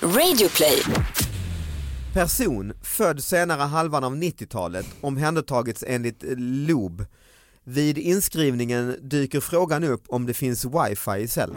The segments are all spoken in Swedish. Radioplay. Person född senare halvan av 90-talet omhändertagits enligt eh, LOB. Vid inskrivningen dyker frågan upp om det finns wifi i cellen.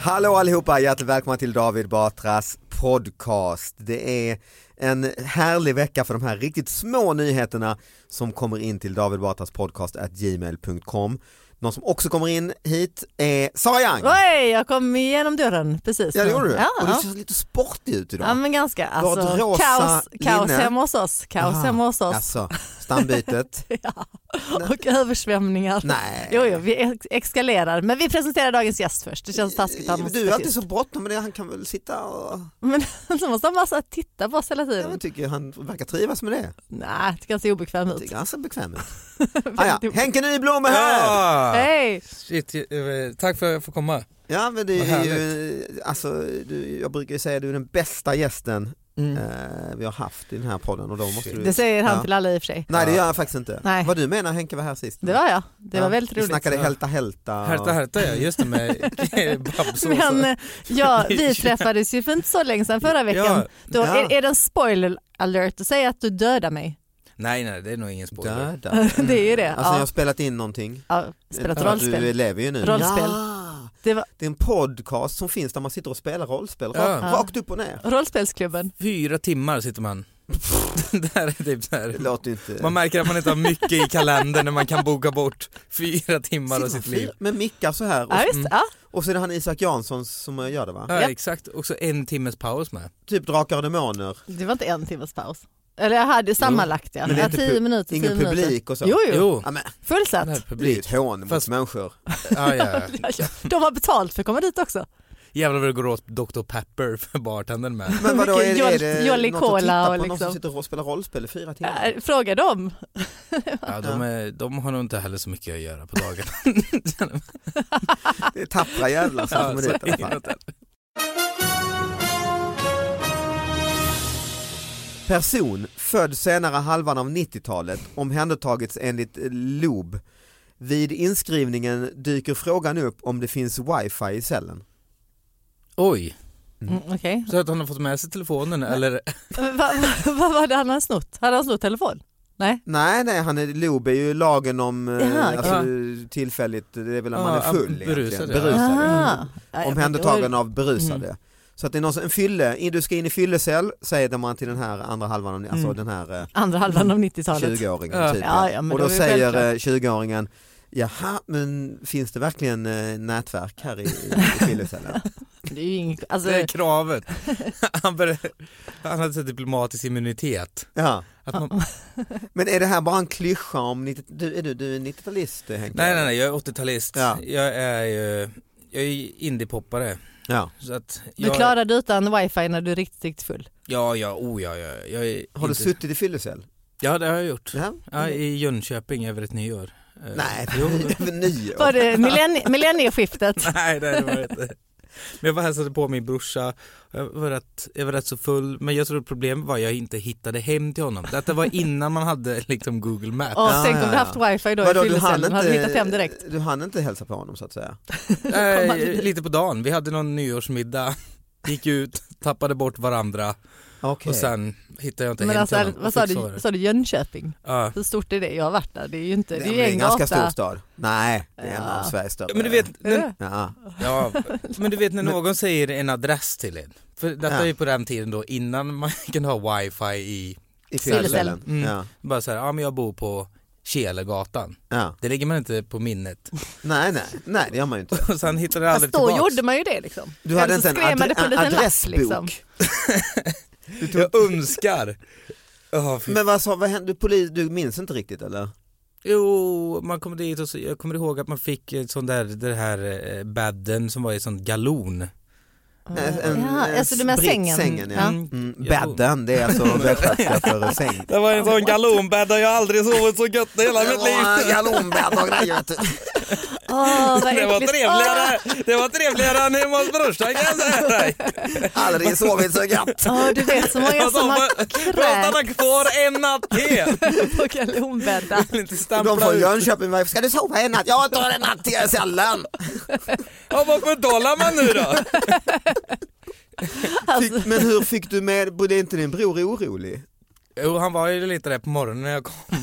Hallå allihopa, hjärtligt välkomna till David Batras podcast. Det är en härlig vecka för de här riktigt små nyheterna som kommer in till David Batras podcast at gmail.com. Någon som också kommer in hit är Sara Young. Oj, jag kom igenom dörren precis. Ja det gjorde du. Ja, Och ja. du ser lite sportig ut idag. ja men ganska. har ett Alltså, rosa kaos kaos linne. hemma hos oss. Kaos Aha. hemma hos oss. Alltså, stambytet. Ja. Och översvämningar. Nej. Jo, jo, vi ex- eskalerar. Men vi presenterar dagens gäst först. Det känns taskigt. Han måste Du är vara alltid tyst. så bråttom med det, han kan väl sitta och... Men så måste han bara så här titta på oss hela tiden. Jag tycker han verkar trivas med det. Nej, tycker han ser obekväm Jag ut. tycker han ser bekväm ut. Väldigt Ah, ja. obekväm. Henke Nyblom är här! Hej! Shit, eh, tack för att jag får komma. Ja men det Vad är ju, alltså, du, jag brukar ju säga att du är den bästa gästen eh, vi har haft i den här podden och då måste du... Mm. Det säger han Ja. till alla i och för sig. Nej det gör jag faktiskt inte. Nej. Vad du menar Henke var här sist? Det var jag. Det Ja, var väldigt Vi roligt. snackade Ja. hälta hälta. och- Härta härta ja, just det med Babs och Men så. eh, ja, vi träffades ju för inte så länge sedan förra veckan. Ja. Då, Ja. är, är det en spoiler alert att säga att du dödar mig? Nej nej, det är nog ingen spoiler. Döda. Alltså Det är ju det. jag alltså, har ja. spelat in någonting. Ja, spelat För att Du rollspel. lever ju nu. Rollspel. Ja. Det var Det är en podcast som finns där man sitter och spelar rollspel Ja. rakt, Ja. rakt upp och ner. rollspelsklubben. Fyra timmar sitter man. det här är typ så här. Det låter ju inte... Man märker att man inte har mycket i kalendern när man kan boka bort fyra timmar av Sitter sitt liv. fyra- Med mickar så här och, Ja, visst. Mm. Ja. och så är det han Isak Jansson som gör det va? Ja, Ja. exakt, också en timmes paus med. Typ Drakar och Demoner. Det var inte en timmes paus. Eller jag hade sammanlagt ja. men det är ja inte tio pu- minuter. Ingen tio minuter. publik och så. Jo, jo. Jo, Ja, men, Fullsatt. den här det är ju ett publiken. hån Fast- mot människor. Ja, ja. ja. Alltså, De har betalt för att komma dit också. Jävlar vad det går åt Dr Pepper för bartendern med. Men vadå, Mycket är, det- är Jolly det något att Cola titta på? och Någon som liksom- sitter och spelar rollspel i fyra timmar? Äh, Fråga dem. Ja, de, är, de har nog inte heller så mycket att göra på dagen. Det är tappra jävlar som kommer dit i alla fall. Person född senare halvan av 90-talet omhändertagits enligt eh, LOB. Vid inskrivningen dyker frågan upp om det finns wifi i cellen. Oj, Mm, Okej. Så att han har fått med sig telefonen eller? alltså- Vad va, va, vad var det han hade snott? Hade han snott telefon? Nej. Nej, nej, han är, LOB är ju lagen om eh, Jaha, alltså, tillfälligt, det är väl när man Ja, är full berusad, egentligen. ja. Berusad. Aha. Ja, Mm. ja, Omhändertagen av berusade. Så att det är någon som, en fylle, in- du ska in i fyllecell säger man till den här andra halvan, av- alltså Mm. den här eh, Andra halvan av 90-talet. 20-åringen. Ja. Typ, Ja, ja, men och då det var ju säger självklart. eh, 20-åringen, jaha men finns det verkligen eh, nätverk här i, i fyllecellen? Det är ju inget, alltså, Det är kravet. Han, började, han hade så diplomatisk immunitet. ja. Att man, Men är det här bara en klyscha om, 90, du, är du, du är 90-talist Henke? nej, nej, nej, jag är 80-talist. Ja. Jag är ju, jag är indiepoppare. Ja. Så att du jag, klarar dig utan wifi när du är riktigt, riktigt full. Ja, ja, oh ja, ja. Jag är Har du inte- suttit i fyllecell? Ja, det har jag gjort. Ja. Ja, I Jönköping över ett nyår. Eh, Nej, Jo, över nyår. Var det eh, millenni- millennieskiftet? nej, det var det inte. Men jag var och hälsade på min brorsa, jag var, rätt, jag var rätt så full, men jag tror problemet var att jag inte hittade hem till honom. Detta var innan man hade liksom Google Maps. Och Ja, tänk om ja, du ja. haft wifi då i fyllecellen, hade du hittat hem direkt. du hann inte hälsa på honom så att säga? Eh, man dit? lite på dagen, vi hade någon nyårsmiddag, gick ut, tappade bort varandra Okej. och sen hittade jag inte Men hem alltså, till honom. vad Och sa fick du, sova. sa du Jönköping? Ja. Hur stort är det? Jag har varit där, det är ju inte, Nej, det men är det ju är en en ganska stor gata. stad. Nej, det är en Ja. av Sveriges större. Men du vet, Är när, det? Ja. ja, men du vet när någon säger en adress till en, för detta Ja. är ju på den tiden då innan man kunde ha wifi i, I Fyllecellen. fyllecellen. Mm. Ja. bara så här, ja men jag bor på Kelegatan. Ja. Det lägger man inte på minnet. Nej, nej, nej det gör man ju inte. Och sen hittade jag Fast aldrig då tillbaks. gjorde man ju det liksom. Du hade Eller inte så en, skrev adre- man det på en en liten lapp adressbok. liksom. Jag önskar. Ja, fy Men vad sa, vad hände, polis, du minns inte riktigt eller? Jo, man kom dit och så, jag kommer ihåg att man fick eh, sån där, den här eh, bädden som var i sån galon. En, en, Ja, alltså du menar spritt- sängen? ja. Ja. Mm, Ja. bädden, det är alltså västgötska för säng. Det var en sån galonbädd där jag aldrig sovit så gött i hela mitt liv. Galombädd och grejer vet du. Åh, vad Det var äckligt. trevligare, det var trevligare än hemma hos brorsan kan jag säga dig. Aldrig sovit så gött. Åh, åh, du vet så många Alltså, som har vad- kräkts Brorsan har kvar en natt till. på galonbäddar. Vill inte De stampla från ut. Jönköping, varför ska du sova en natt? Jag tar en natt till jag är sällan. Ja, vad betalar man nu då? Fick- Men hur fick du med, bodde inte din bror orolig? Jo, han var ju lite där på morgonen när jag kom. Men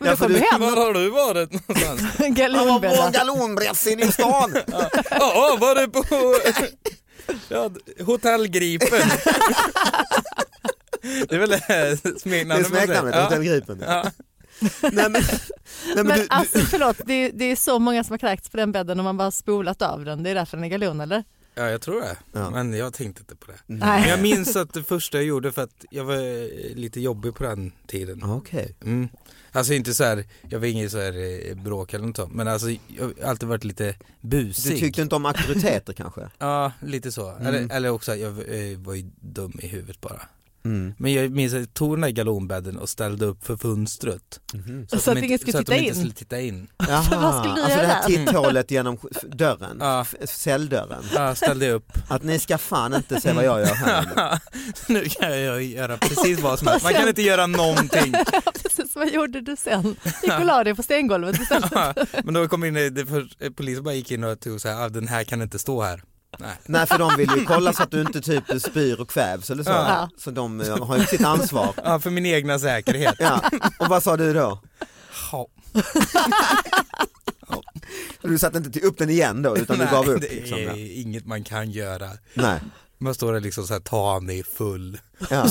Ja, för då kom du- du hem. Var har du varit någonstans? Han var på Galonbäddar. galonbrädsin i stan. Ja, var du på ja, Hotell Gripen? Det är väl eh, Det är smeknamnet man smeknamnet, säger? Hotell Gripen. Ja. Nej men, nej, men Men du, alltså förlåt, det är, det är så många som har kräkts på den bädden och man bara har spolat av den. Det är därför den är galon eller? ja, jag tror det. Ja. Men jag tänkte inte på det. Men Nej. jag minns att det första jag gjorde för att jag var eh, lite jobbig på den tiden. Ah, Okej. Mm. Alltså inte så här, jag var ingen så här eh, bråk eller något sånt, men alltså jag har alltid varit lite busig. Du tyckte inte om auktoriteter kanske? Ja, lite så. Mm. Eller, eller också, jag eh, var ju dum i huvudet bara. Mm. Men jag minns att jag tog den där galonbädden och ställde upp för fönstret. Mhm. Så att de ingen inte- skulle så att de titta inte in. skulle titta in. Jaha, vad skulle du alltså det göra här där? titthålet genom f- dörren, Ja. f- celldörren. Ja, ställde jag upp. Att ni ska fan inte se vad jag gör här. nu. nu kan jag göra precis vad som helst. Man kan inte göra någonting. Precis, vad gjorde du sen? Gick och la dig på stengolvet istället? Ja, Men då kom in, det för, polisen bara gick in och tog så här, "Ah, den här kan inte stå här. Nej. Nej för de vill ju kolla så att du inte typ spyr och kvävs eller så. Ja. Så de eh, har ju sitt ansvar. Ja, för min egna säkerhet. Ja. Och vad sa du då? Ja, Du satte inte till- upp den igen då utan du gav upp? det Liksom. är Ja. inget man kan göra. Nej. Man står där liksom så här, ta mig full. Ja.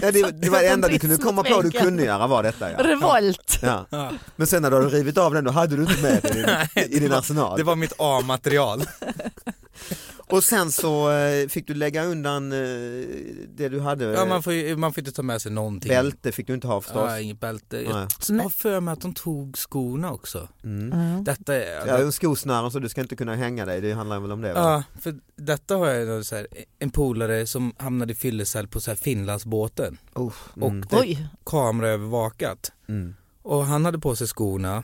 Ja, det, det var det enda du kunde komma på du kunde göra var detta ja. Revolt. Ja. Ja. Men sen när du hade rivit av den då hade du inte med den i, i din arsenal. Det var mitt A-material. Och sen så eh, fick du lägga undan eh, det du hade. eh, Ja, man, får, ju- man får inte ta med sig någonting. Bälte fick du inte ha förstås. Ja, inget bälte. Nej. Jag, sen har jag för mig att de tog skorna också. Mm. Mm. Detta är... Ja, en skosnören så du ska inte kunna hänga dig, det handlar väl om det? Va? Ja, för detta har jag då så här, en polare som hamnade i fyllecell på så här Finlandsbåten. Oh, mm, Och det Oj, kameraövervakat. mm. Och han hade på sig skorna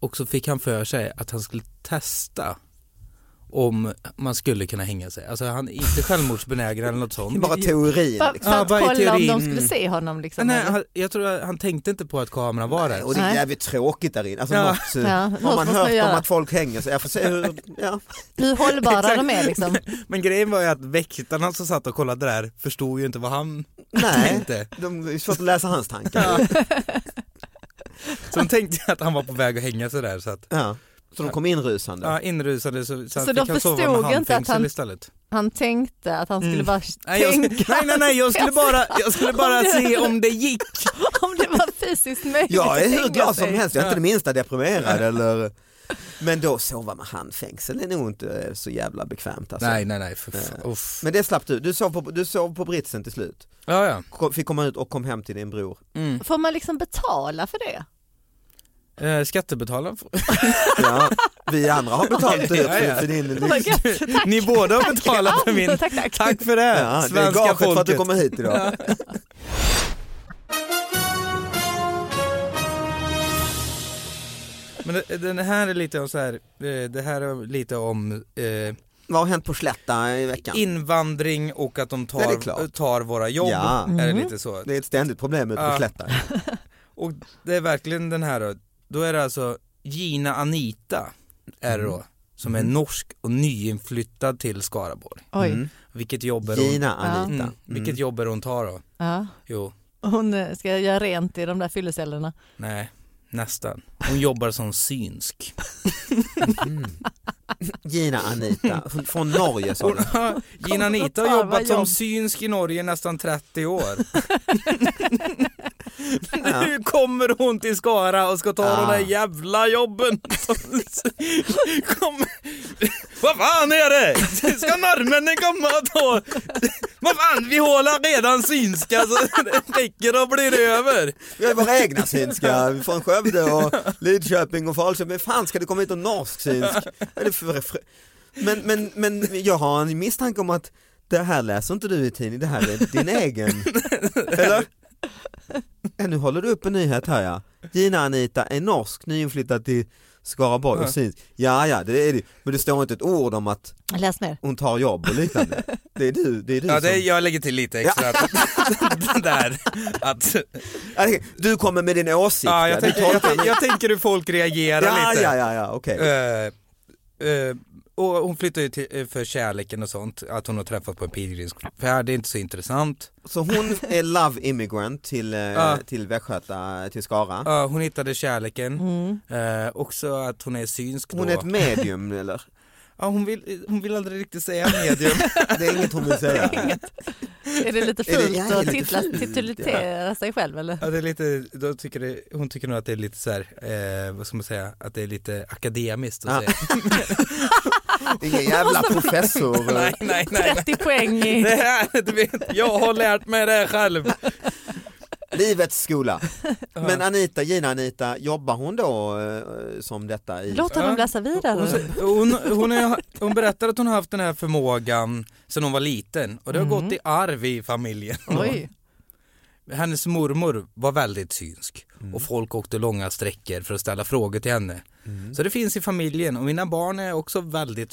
och så fick han för sig att han skulle testa om man skulle kunna hänga sig. Alltså han är inte självmordsbenägen eller något sånt. Bara teorin. för, Liksom. för att bara i kolla om teorin. de skulle se honom liksom. Nej, eller? han, jag tror att han tänkte inte på att kameran var där. Och det är Nej. jävligt tråkigt där inne. Alltså, Ja. något, eh, Ja, något Har man måste hört man göra. om att folk hänger så jag får se hur, ja. Hur hållbara Exakt. de är liksom. Men grejen var ju att väktarna som satt och kollade där förstod ju inte vad han Nej, tänkte. de, det är svårt att läsa hans tankar. Så de tänkte att han var på väg att hänga sig där. Så att, Ja. Så de kom inrusande. ja, inrusade så, så, Så han de fick han sova med förstod inte att handfängsel han- istället. Han tänkte att han skulle Mm. bara Nej, jag, tänka nej, nej, nej, jag skulle bara, jag skulle bara se om det gick. om det var fysiskt möjligt. Jag är att hur hänga glad som sig. helst, jag är inte det minsta deprimerad eller men då sova med handfängsel är nog inte så jävla bekvämt alltså. Nej, nej, nej. För fan. Uff. Men det slapp du, du sov, på, du sov på britsen till slut, Ja, ja. Kom, fick komma ut och kom hem till din bror. Mm. Får man liksom betala för det? Eh, skattebetalaren. får- Ja, vi andra har betalt dyrt Ja, ja. för, för din Det var gött. Tack. Ni båda har betalat för min. Tack, tack. Tack för det, ja, det är svenska gaget för att du folket. kommer hit idag. Men det- den här är lite om så här, eh, det här är lite om eh, Vad har hänt på Slätta i veckan? invandring och att de Nej, det är klart. tar, tar våra jobb. Ja, Är Mhm. det lite så. det är ett ständigt problem ute på Ja. Slätta. Och det är verkligen den här då. Då är det alltså Gina Anita är det då. Mm. Som är norsk och nyinflyttad till Skaraborg. Oj. Mm. Vilket jobb är hon, Gina Anita. mm, vilket Mm. jobb är hon tar då? Ja. Jo, Hon eh, ska göra rent i de där fyllecellerna. nej, nästan. Hon jobbar som synsk. Mm. Gina Anita, Hon- från Norge sa Hon, du. Gina Anita har Kommer att ta jobbat vad som jobb. synsk i Norge i nästan 30 år. Men Ja. nu kommer hon till Skara och ska ta Ah. de där jävla jobben. som- Kom. Vad fan är det? Ska norrmännen komma och ta? Vad fan, vi håller redan synska så det räcker och blir över. Vi har ju våra egna synska från Skövde och Lidköping och Falköping. Men fan ska det komma hit en norsk synsk? Vad är det för- för- Men, men, men jag har en misstanke om att det här läser inte du i tidning, det här är din egen. Eller? Ja, nu håller du upp en nyhet här ja. Gina Anita är norsk, nyinflyttad till Skaraborg och Ja. syns. Ja, ja, det är det. Men det står inte ett ord om att Läs mer. hon tar jobb och liknande. Det är du, det är du Ja, som... det, jag lägger till lite extra. att- där. Att, Jag tänker, Du kommer med din åsikt. ja, jag, Du tänker, jag, tolkar tänker- min- jag tänker hur folk reagerar ja, lite. ja, ja, ja, okej. Eh, eh, och hon flyttar ju till, eh, för kärleken och sånt, att hon har träffat på en pilgrimsfärd, det är inte så intressant. Så hon är love immigrant till, eh, Ja. till Västgöta, eh, till Skara. Ja, hon hittade kärleken, Mm. eh, också att hon är synsk då. Hon är ett medium eller? ja, hon, vill, hon vill aldrig riktigt säga medium. Det är inget hon vill säga. Är det lite Är det- fult ja, det är att lite titla, fult, titulera sig själv eller? ja, det är lite, då tycker det, hon tycker nog att det är lite så här, eh, vad ska man säga, att det är lite akademiskt att Ja. säga. Ingen jävla professor. eh, nej, nej, nej. nej. 30 poäng i... Det här, du vet, jag har lärt mig det här själv. Livets skola. Ja. Men Anita, Gina Anita, jobbar hon då eh, som detta i? Låt honom läsa Hon, vidare. hon, hon, är, hon berättar att hon har haft den här förmågan sedan hon var liten och det har Mm. gått i arv i familjen. Oj. Hennes mormor var väldigt synsk Mm. och folk åkte långa sträckor för att ställa frågor till henne. Mm. Så det finns i familjen och mina barn är också väldigt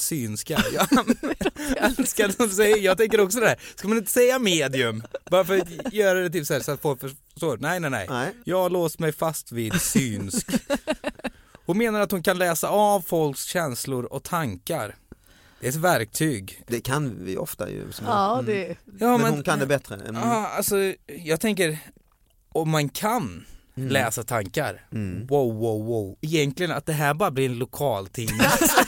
synska. Jag, älskar att de säger, jag tänker också det här, ska man inte säga medium? Varför göra det typ så här så att folk förstår? Nej, nej, nej. Nej. Jag har låst mig fast vid synsk. Hon menar att hon kan läsa av folks känslor och tankar. Det är ett verktyg. Det kan vi ofta ju. som- Ja, Mm. det... Ja, men, hon kan det bättre. Mm. Ja, alltså, jag tänker, om man kan Mm. läsa tankar, Mm. wow, wow, wow. Egentligen att det här bara blir en lokaltidning. Alltså,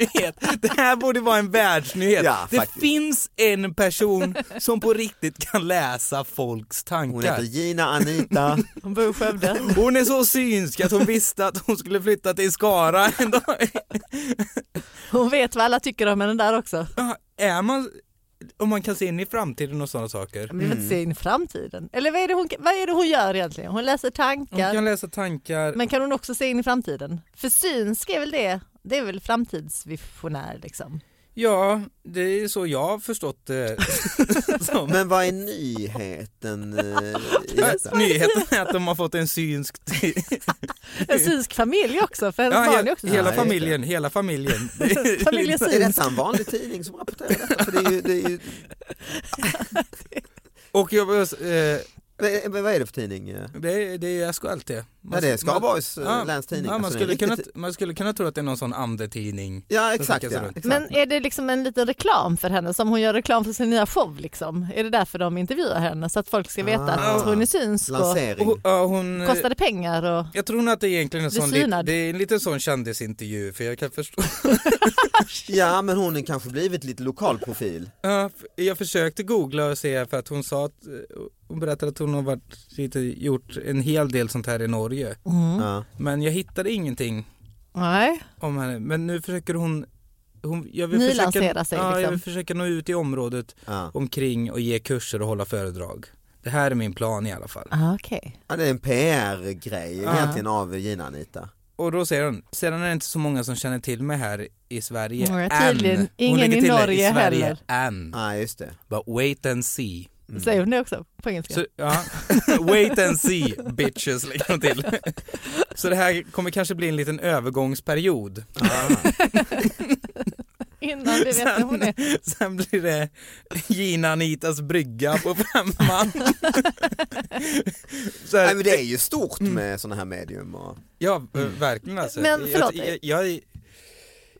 ni vet, det här borde vara en världsnyhet. Ja, det faktiskt. finns en person som på riktigt kan läsa folks Hon tankar. heter Gina Anita. Hon bor i Skövde. Hon är så synsk att hon visste att hon skulle flytta till Skara en dag. Hon vet vad alla tycker om henne där också. Ja, Är man, om man kan se in i framtiden och sådana saker. Men Vi vill Mm. inte se in i framtiden. Eller vad är, det hon, vad är det hon gör egentligen? Hon läser Hon tankar, kan läsa tankar. men kan hon också se in i framtiden? För synsk är väl det, det är väl framtidsvisionär liksom. Ja, det är så jag har förstått eh, det. som. Men vad är nyheten eh, i detta? Nyheten är att de har fått en synsk... t- En synsk familj också, för hennes Ja, barn är hela, också Ja, hela just det. familjen, hela familjen. Familjen Är synsk. detta en vanlig tidning som rapporterar detta? För det är ju, det är ju, Och jag, eh, men- men vad är det för tidning? eh? det, är- det är SKLT. Man, Ja, det är Skaraborgs eh, man- läns tidning. Ja, man, Alltså, det är skulle riktigt- kunna, man skulle kunna tro att det är någon sån andetidning. Ja som exakt. skickas Ja, runt. exakt. Men är det liksom en liten reklam för henne som hon gör reklam för sin nya show liksom? Är det därför de intervjuar henne så att folk ska veta Ah. att hon är synsk och Lansering. Och, ja, hon, kostade pengar och jag tror nog att det är egentligen en Blir sån, lit- synad. det är en liten sån kändisintervju för jag kan förstå. Ja men hon har kanske blivit lite lokal profil. Ja, f- jag försökte googla och se för att hon sa att, eh, hon berättade att hon har varit, lite, gjort en hel del sånt här i Norge. Mm. Ja. Men jag hittade ingenting Nej. om henne. Men nu försöker hon, hon jag Nylansera sig, ja, jag liksom. vill försöka nå ut i området Ja. omkring och ge kurser och hålla föredrag. Det här är min plan i alla fall. Ah, Okej. Ja, det är en PR-grej Ja. egentligen av Gina Anita. Och då säger hon, sedan är det inte så många som känner till mig här i Sverige Nej, än. tydligen Hon ingen lägger i till det, Norge i Sverige heller. än. Ja just det. But wait and see. Mm. Säger hon det också på engelska? Så, ja. wait and see bitches lägger hon till. så det här kommer kanske bli en liten övergångsperiod. Ah. Innan vi vet vem hon är. Sen blir det Gina Anitas brygga på femman. Så här- Nej, men det är ju stort Mm. med sådana här medium. Och... Ja, v- verkligen alltså. Men förlåt. Jag, jag, jag,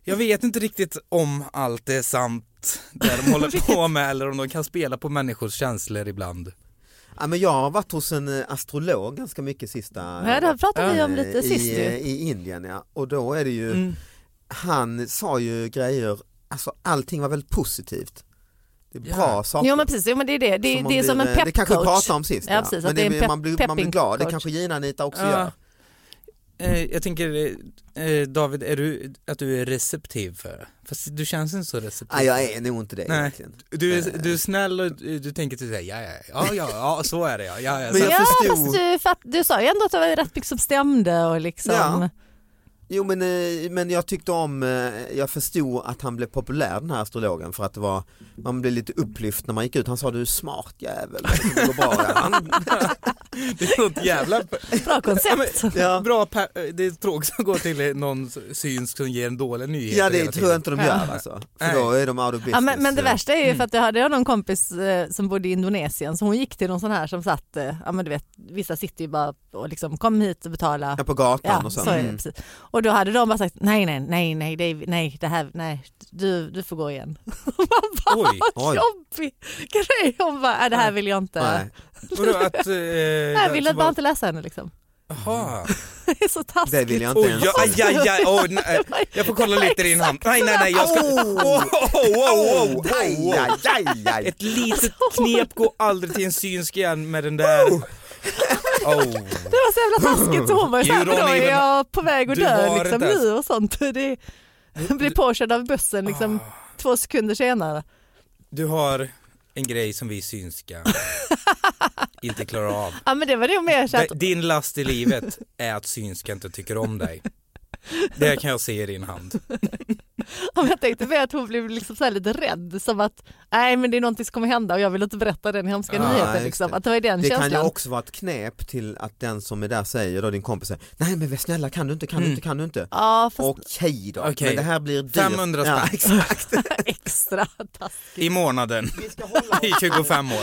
jag vet inte riktigt om allt är sant där de håller på med eller om de kan spela på människors känslor ibland. Ja, men jag har varit hos en eh, astrolog ganska mycket sista Nej, det här pratade vi om eh, lite sist i, eh, ju. i Indien. Ja. Och då är det ju, Mm. han sa ju grejer, alltså allting var väldigt positivt. Det är Ja. bra saker. Jo men precis, jo, men det är det. Det, man det är blir, som en eh, Det kanske vi peppcoach. pratade om sist. Ja, precis, men att det är en pep- man, blir, man blir pepping glad, det coach. kanske Gina Anita också Ja. gör. Eh, Jag tänker eh, David, är du, att du är receptiv för det? Fast du känns inte så receptiv. Nej, jag är nog inte det Nej. egentligen. Du, är- du är snäll och du du tänker till säga ja, ja, ja, ja, ja, så är det ja, ja, ja. Men Så- jag Ja förstod. fast du, fatt, du sa ju ändå att det var rätt mycket som stämde och liksom. Ja. Jo men, eh, men jag tyckte om, eh, jag förstod att han blev populär den här astrologen för att det var, man blev lite upplyft när man gick ut. Han sa du är smart jävel, det går bra. Han, Det är något jävla... Bra koncept. ja. Bra per... Det är tråkigt att gå till någon synsk som ger en dålig nyhet. ja det tror hela tiden. jag inte de gör alltså. För Nej. då är de out of business. eh, Mm. Ja, men, men det värsta är ju för att jag hade jag någon kompis eh, som bodde i Indonesien så hon gick till någon sån här som satt, eh, ja men du vet vissa sitter ju bara och liksom kom hit och betala. Ja, på gatan Ja, och så är det, sen. Mm. precis. Och då hade de bara sagt nej, nej, nej, nej, det, är- nej, det här, nej, du, du får gå igen. Oj. Vad Oj. jobbig grej! Hon bara, äh, det här vill jag inte. Nej, Vadå att... Eh, Jag ville alltså bara inte läsa henne liksom. Jaha. Det är så taskigt. det vill jag inte Oj, ens. ja, aj, aj, aj, oh, nej. Det var ju- Jag får kolla lite i din hand. Nej, nej, nej, jag ska... Oh. Oh, oh, oh, oh, Aj, oh. aj, aj, aj. Alltså, Ett litet knep går aldrig till en synsk igen med den där... Oh. Det var så jävla taskigt så hon var ju You såhär, don't då är even- jag på väg att Du dö har liksom inte ens- nu och sånt. Det blir påkörd av bussen liksom Ah. två sekunder senare. Du har en grej som vi synska inte klarar av. Ja men det var nog mer så att, D- Din last i livet är att synska inte tycker om dig. Det kan jag se i din hand. om jag tänkte mer att hon blev liksom så här lite rädd som att nej men det är någonting som kommer hända och jag vill inte berätta den hemska Ja, Ah, just nyheten det. liksom. Att det var ju den Det kan känslan. ju också vara ett knep till att den som är där säger då din kompis säger nej men snälla kan du inte, kan du Mm. inte, kan du inte. Ja fast Okej då, Okej. men det här blir dyrt. 500 spänn. Ja, exakt. extra taskigt. I månaden. Vi ska hålla I 25 år.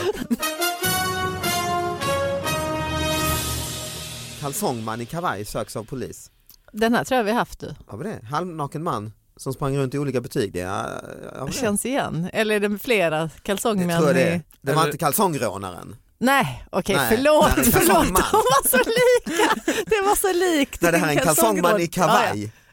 Kalsongman i kavaj söks av polis. Den här tror jag vi har haft du. Har vi det? Halvnaken man som sprang runt i olika butiker. Ja, har vi det? Känns igen. Eller är det flera det kalsongmän? tror jag det. är. i- Det var inte kalsongrånaren. Nej okej Nej, förlåt, det är en förlåt. De kalsongman. var så lika. Det var så likt. Nej det här är en kalsongman i kalsongråd.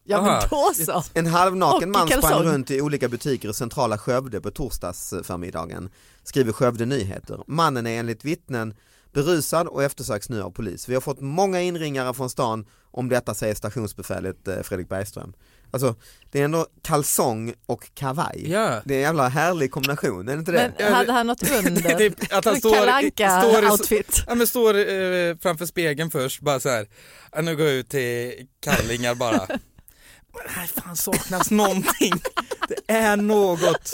Ja, ja. kavaj. Ja men Aha. då så. En Och halvnaken i man sprang kalsong. runt i olika butiker i centrala Skövde på torsdagsförmiddagen, skriver Skövde Nyheter. Mannen är enligt vittnen berusad och eftersöks nu av polis. Vi har fått många inringare från stan om detta säger stationsbefälet eh, Fredrik Bergström. Alltså det är ändå kalsong och kavaj. Ja. Det är en jävla härlig kombination, är det inte det? Men hade han något Det är under? typ att han står, Kalle står, i- Anka-outfit. Ja men står eh, framför spegeln först bara så här. Ja, nu går jag ut till kallingar bara. Men här fan saknas någonting. Det är något.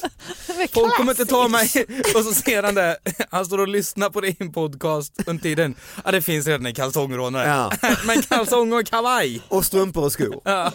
Folk kommer inte ta mig. Och så ser han det. Han står och lyssnar på din podcast under tiden. Ja det finns redan en kalsongrånare. Ja. Men kalsong och kavaj. Och strumpor och skor. Ja.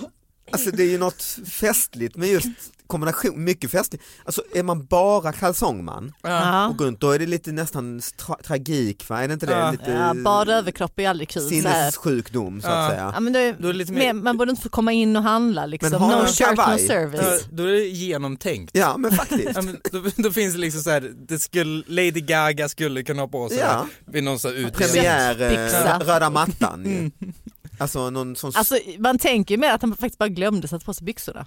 Alltså det är ju något festligt med just kombination, mycket festligt. Alltså är man bara kalsongman Ja. Ja. och går runt, då är det lite nästan tra- tragik va? Är det inte det? Ja. Lite Ja, bara överkropp är aldrig kul. Så här. sinnessjukdom så Ja. att Ja, säga. men det, Då är det lite mer, mer- man borde inte få komma in och handla liksom. Men har No han shirt, no kavaj? Ja, service. Då är det genomtänkt. Ja men faktiskt. Ja, men då, då finns det liksom så här, det skulle, Lady Gaga skulle kunna ha på sig Ja. det vid någon sån här utdelning. Premiär, eh, Köttpizza. röda mattan ju. Alltså någon sån, Mm. Alltså, man tänker ju mer att han faktiskt bara glömde sätta på sig byxorna.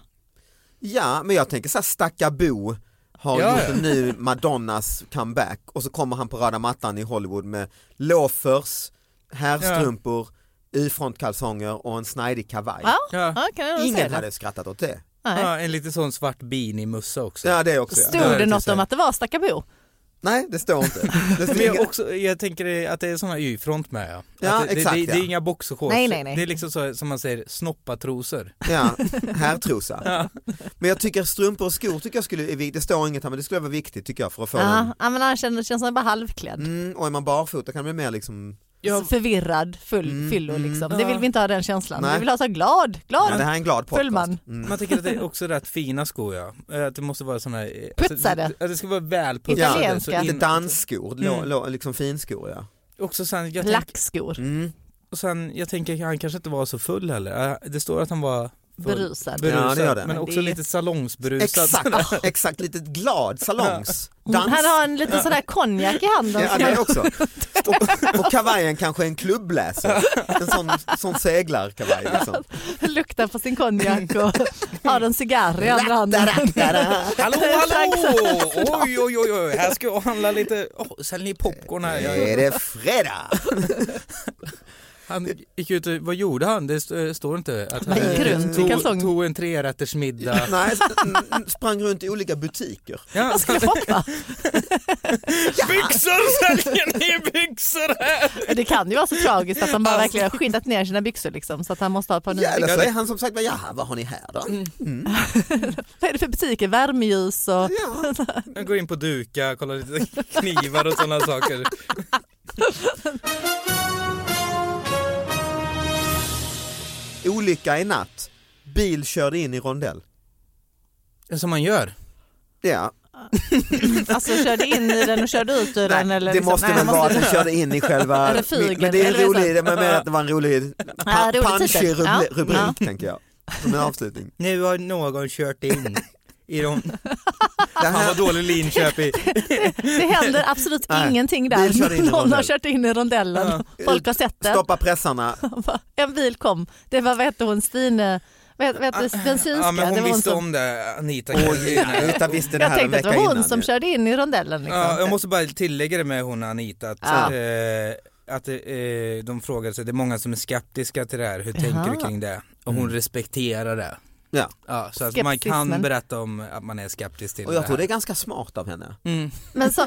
ja men jag tänker så här Stackabo har Ja, gjort ja. en ny Madonnas comeback och så kommer han på röda mattan i Hollywood med loafers, herrstrumpor, Y-frontkalsonger och en snajdig kavaj. Ja, Ja. ja kan jag nog säga Ingen det. hade skrattat åt det. Nej. Ja, en lite sån svart beanie-mössa också. Ja det är också ja. Ja, Stod det det är något så här. om att det var stackabo? Nej det står inte. Det står Men jag, inga- också, jag tänker att det är såna Y-front med ja. Ja, Att det, exakt, det, det, det ja. är inga boxershorts. Nej, nej, nej. Det är liksom så, som man säger, snoppatrosor. Ja, herrtrosa. Men jag tycker strumpor och skor tycker jag skulle, är vi- det står inget här men det skulle vara viktigt tycker jag för att få Ja, en ja, men han känner, känns som bara halvklädd. Mm, och är man barfota kan det bli mer liksom, Ja, Så Förvirrad, full, Mm, fyllo mm. liksom. Ja. Det vill vi inte ha den känslan. Nej. Vi vill ha så här glad, glad. men det här är en glad podcast. Full man. Mm. man tycker att det är också rätt fina skor ja. Eh, Att det måste vara såna här... eh, Putsade. Alltså, att det ska vara välputsade. Italienska. så in- Lite dansskor, lo, Mm. lo, liksom finskor ja. Också sen, jag, tänk, Lackskor, Mm. och sen, jag tänker att han kanske inte var så full heller. Eh, Det står att han var full. berusad. Berusad, Ja, det gör det. men Men också det- lite salongsberusad. Exakt, exakt, lite glad salongs, dans. Han har en liten sån där konjak i handen. Ja, som det han- är också. Och, och kavajen kanske en klubbläsare, en sån, sån seglarkavaj liksom. luktar på sin konjak och har en cigarr i andra handen. Hallå, hallå! Oj, oj, oj, oj, här ska jag handla lite, oh, säljer ni popcorn här? Nu Jag, är det fredag! Han gick ut och, vad gjorde han? Det st- eh, står inte. Att han Bara gick runt i tog, kalsong. tog en trerättersmiddag. Nej, s- sprang runt i olika butiker. Ja, Jag skulle shoppa. byxor säljer ni byxor här? Det kan ju vara så tragiskt att han Alltså. bara verkligen har skyndat ner sina byxor liksom så att han måste ha ett par Ja, nya. eller så är han som sagt, ja vad har ni här då? Mm. Vad är det för butiker? Värmeljus och Ja, Han går in på Duka, kollar lite knivar och sådana saker. olycka i natt, bil körde in i rondell. Som man gör. Ja. alltså körde in i den och körde ut ur den Nej, eller det liksom, måste nej, väl han vara att den dö. körde in i själva... Eller fygen, men det är en eller vad rolig, säger det var mer att det var en rolig, Ja, rolig punchig titel. Ja. rubri- rubrik Ja. tänker jag. Som en avslutning. Nu har någon kört in i de... Det Fan här, vad dålig Linköping. Det händer absolut Nej, ingenting bil körde in i där. Någon har rondellen. kört in i rondellen. Folk har sett det. stoppa pressarna. En bil kom. Det var vad hette hon Stine, vad hette- vad Ah, hette den synska? Ja, men det hon var visste som- om det, Anita Och Rita visste det Jag här en tänkte att vecka det var hon innan. som ju. körde in i rondellen. Liksom. Ja, jag måste bara tillägga det med hon Anita att, Ja. eh, att eh, de frågade sig, det är många som är skeptiska till det här, hur tänker Jaha. du kring det? Och hon respekterar det. Ja. Ja, så att man kan Skepticismen. berätta om att man är skeptisk till Och det jag här. tror det är ganska smart av henne. Mm. Men så,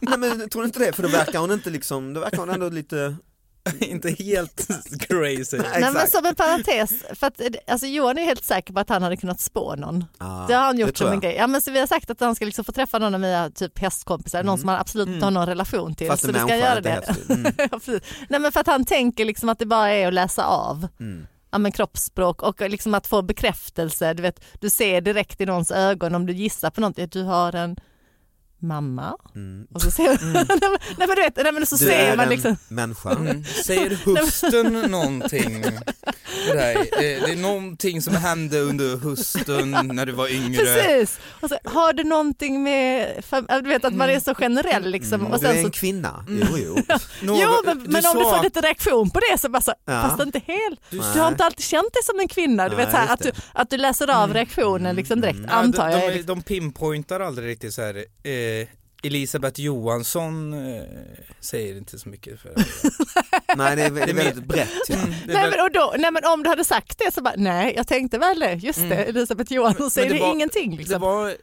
Nej men jag tror inte det, för då verkar hon inte liksom, då verkar hon ändå lite, Inte helt crazy. nej, men exakt. som en parentes, för att, eh, alltså, Johan är helt säker på att han hade kunnat spå någon. Ah, det har han det gjort tror som en jag. grej. Ja, men så vi har sagt att han ska liksom få träffa någon av mina typ, hästkompisar, någon som han absolut inte har någon relation till. Mm. fast så en då ska människa han göra är det. det. Mm. Ja, precis. Nej, men för att han tänker liksom att det bara är att läsa av. Mm. Ja, men kroppsspråk och liksom att få bekräftelse. Du, vet, du ser direkt i någons ögon om du gissar på någonting att du har en mamma. Mm. Och så ser, nej, men, nej, men du vet, nej, men så Du ser är man en liksom. människa. Mm. Säger husten någonting? Det, där, eh, det är någonting som hände under husten när du var yngre. Precis! Och så, har du någonting med, fam- ja, du vet att man är så generell liksom. Mm. Och Du är sen en så, kvinna, jo jo. Någon- jo men, men om du sa- får lite reaktion på det så bara så, Ja. fast inte helt. Du Du, sa- har inte alltid känt dig som en kvinna. Du Nej, vet, så här, just att, du, det. Mm. att du läser av reaktionen liksom direkt Ja, antar de, jag. de, är är- de pinpointar aldrig riktigt så här. Eh, Elisabeth Johansson eh, säger inte så mycket. För Nej det är vä- det är mer- väldigt brett. Ja. det är Nej väl- men, och då, nej men om du hade sagt det så bara, nej jag tänkte väl det, just det, Mm. Elisabeth Men- men Johansson säger det det var- ingenting. det Liksom. var, eh,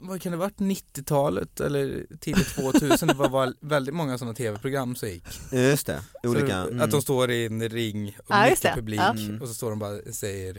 vad kan det varit, 90-talet eller tidigt 2000? Det var väl- väldigt många sådana tv-program som gick. Just det, Så olika. det- Mm. Att de står i en ring och Ja, just mycket det. publik Ja. Mm. och så står de bara och säger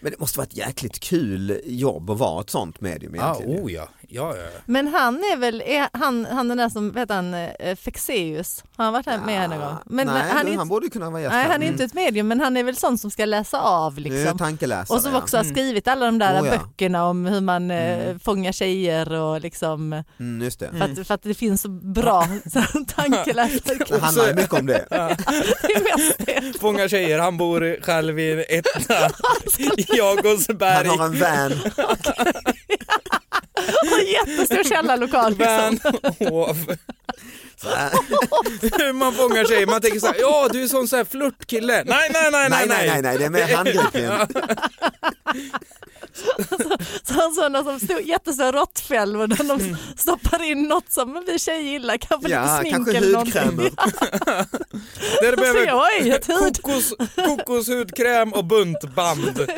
Men det måste vara ett jäkligt kul jobb att vara ett sånt medium ja, ah, egentligen. oh ja, ja, ja. Men han är väl, är han, han den där som, vet han, eh, Fexeus, har han varit här med här någon gång? nej, Men, men han, är han inte, borde kunna vara gäst nej, här. han är Mm. inte ett medium men han är väl sån som ska läsa av Mm. Nu är jag liksom. tankeläsare. Och som ja. också har Mm. skrivit alla de där Oh, ja. böckerna om hur man eh, Mm. fångar tjejer och liksom, Mm, just det. för, att, för att det finns så bra tankeläsare. Det handlar ju mycket om det. Det är mest det. Fångar tjejer, han bor själv i en etta i Jakobsberg. Han har en van. Och en jättestor källarlokal liksom. Van Hov. Så här. Man fångar sig, man tänker så här, ja du är sån så här flörtkille. Nej nej nej Nej, nej, nej, nej, det är mer handgripligen. Så- Sådana som stod jättestora råttfällor där de stoppar in något som vi tjejer gillar, kanske Mm. Ja, lite smink kanske eller någonting. hudkrämer. Där du Så behöver jag har inget hud. kokos, kokoshudkräm och buntband.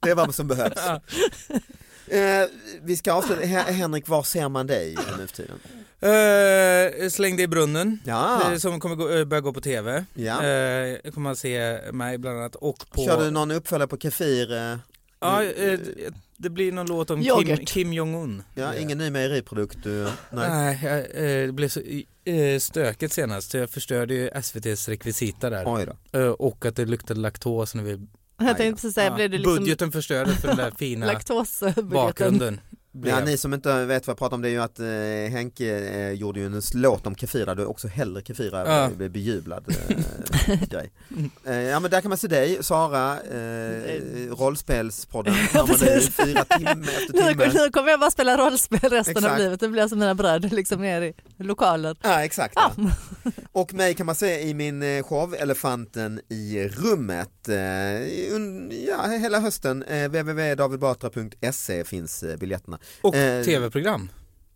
Det är vad som behövs. Ja. Eh, vi ska avsluta. Hen- Henrik, var ser man dig nu för tiden? Eh, släng det i brunnen. Ja, eh, Som kommer gå, eh, börja gå på tv. Ah. Ja. Eh, kommer man se mig bland annat och på... kör du någon uppföljare på Kefir? eh? ja, eh, det blir någon låt om Kim, Yoghurt. Kim Jong-Un. Ja, ingen ny mejeriprodukt? Du, nej. Nej, jag, eh, det blev så eh, stökigt senast. Jag förstörde ju SVTs rekvisita där. Oj då. Eh, Och att det luktade laktos när vi... Jag tänkte precis säga, Ja, blev du liksom Budgeten förstördes för den där fina laktosbudgeten? bakgrunden. Blev. Ja, ni som inte vet vad jag pratar om det är ju att eh, Henke eh, gjorde ju en låt om Kefir där du också hellre Kefir Ja. ja. blev bejublad eh, grej. Eh, ja men där kan man se dig, Sara, eh, rollspelspodden, har man nu precis. fyra timme efter Nu, timme. nu kommer jag bara spela rollspel resten Exakt. av livet, det blir som mina bröder liksom ner i lokaler. Ja exakt. Ja. Ja. Och mig kan man se i min eh, show Elefanten i rummet. eh, un- Ja, hela hösten. eh, www.davidbatra.se finns eh, biljetterna. Och Eh, tv-program.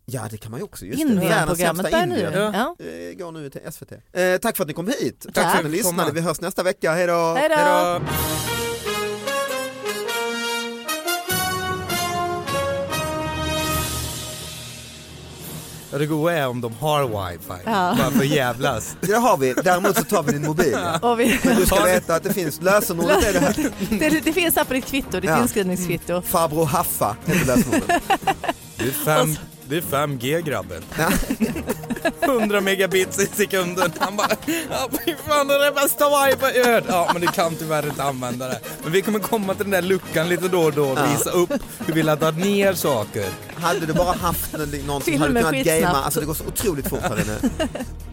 Ja det kan man ju också. just det. Världens Invandrarprogrammet sämsta börjar nu. inbjudan. Ja. Eh, går nu till SVT. Eh, tack för att ni kom hit. Tack, Tack för för att ni att lyssnade. komma. Vi hörs nästa vecka. Hej då! Hej då! Hejdå. Ja, det goa är om de har wifi, Ja. bara för att jävlas. Det har vi. Däremot så tar vi din mobil. Och vi, Men du ska veta att det finns lösenordet är det här. det, det finns här på ditt kvitto, ditt Ja. Mm. inskrivningskvitto. Farbror Haffa heter lösenordet. Det är, fem, det är 5G grabben. 100 megabits i sekunden. Han bara, ja fy fan det är det bästa wifi jag hört. Ja men du kan tyvärr inte använda det. Men vi kommer komma till den där luckan lite då och då och Ja. visa upp hur vi laddar ner saker. Hade du bara haft någon någon som hade Filmen kunnat skitsnabbt. gamea, alltså det går så otroligt fort här inne.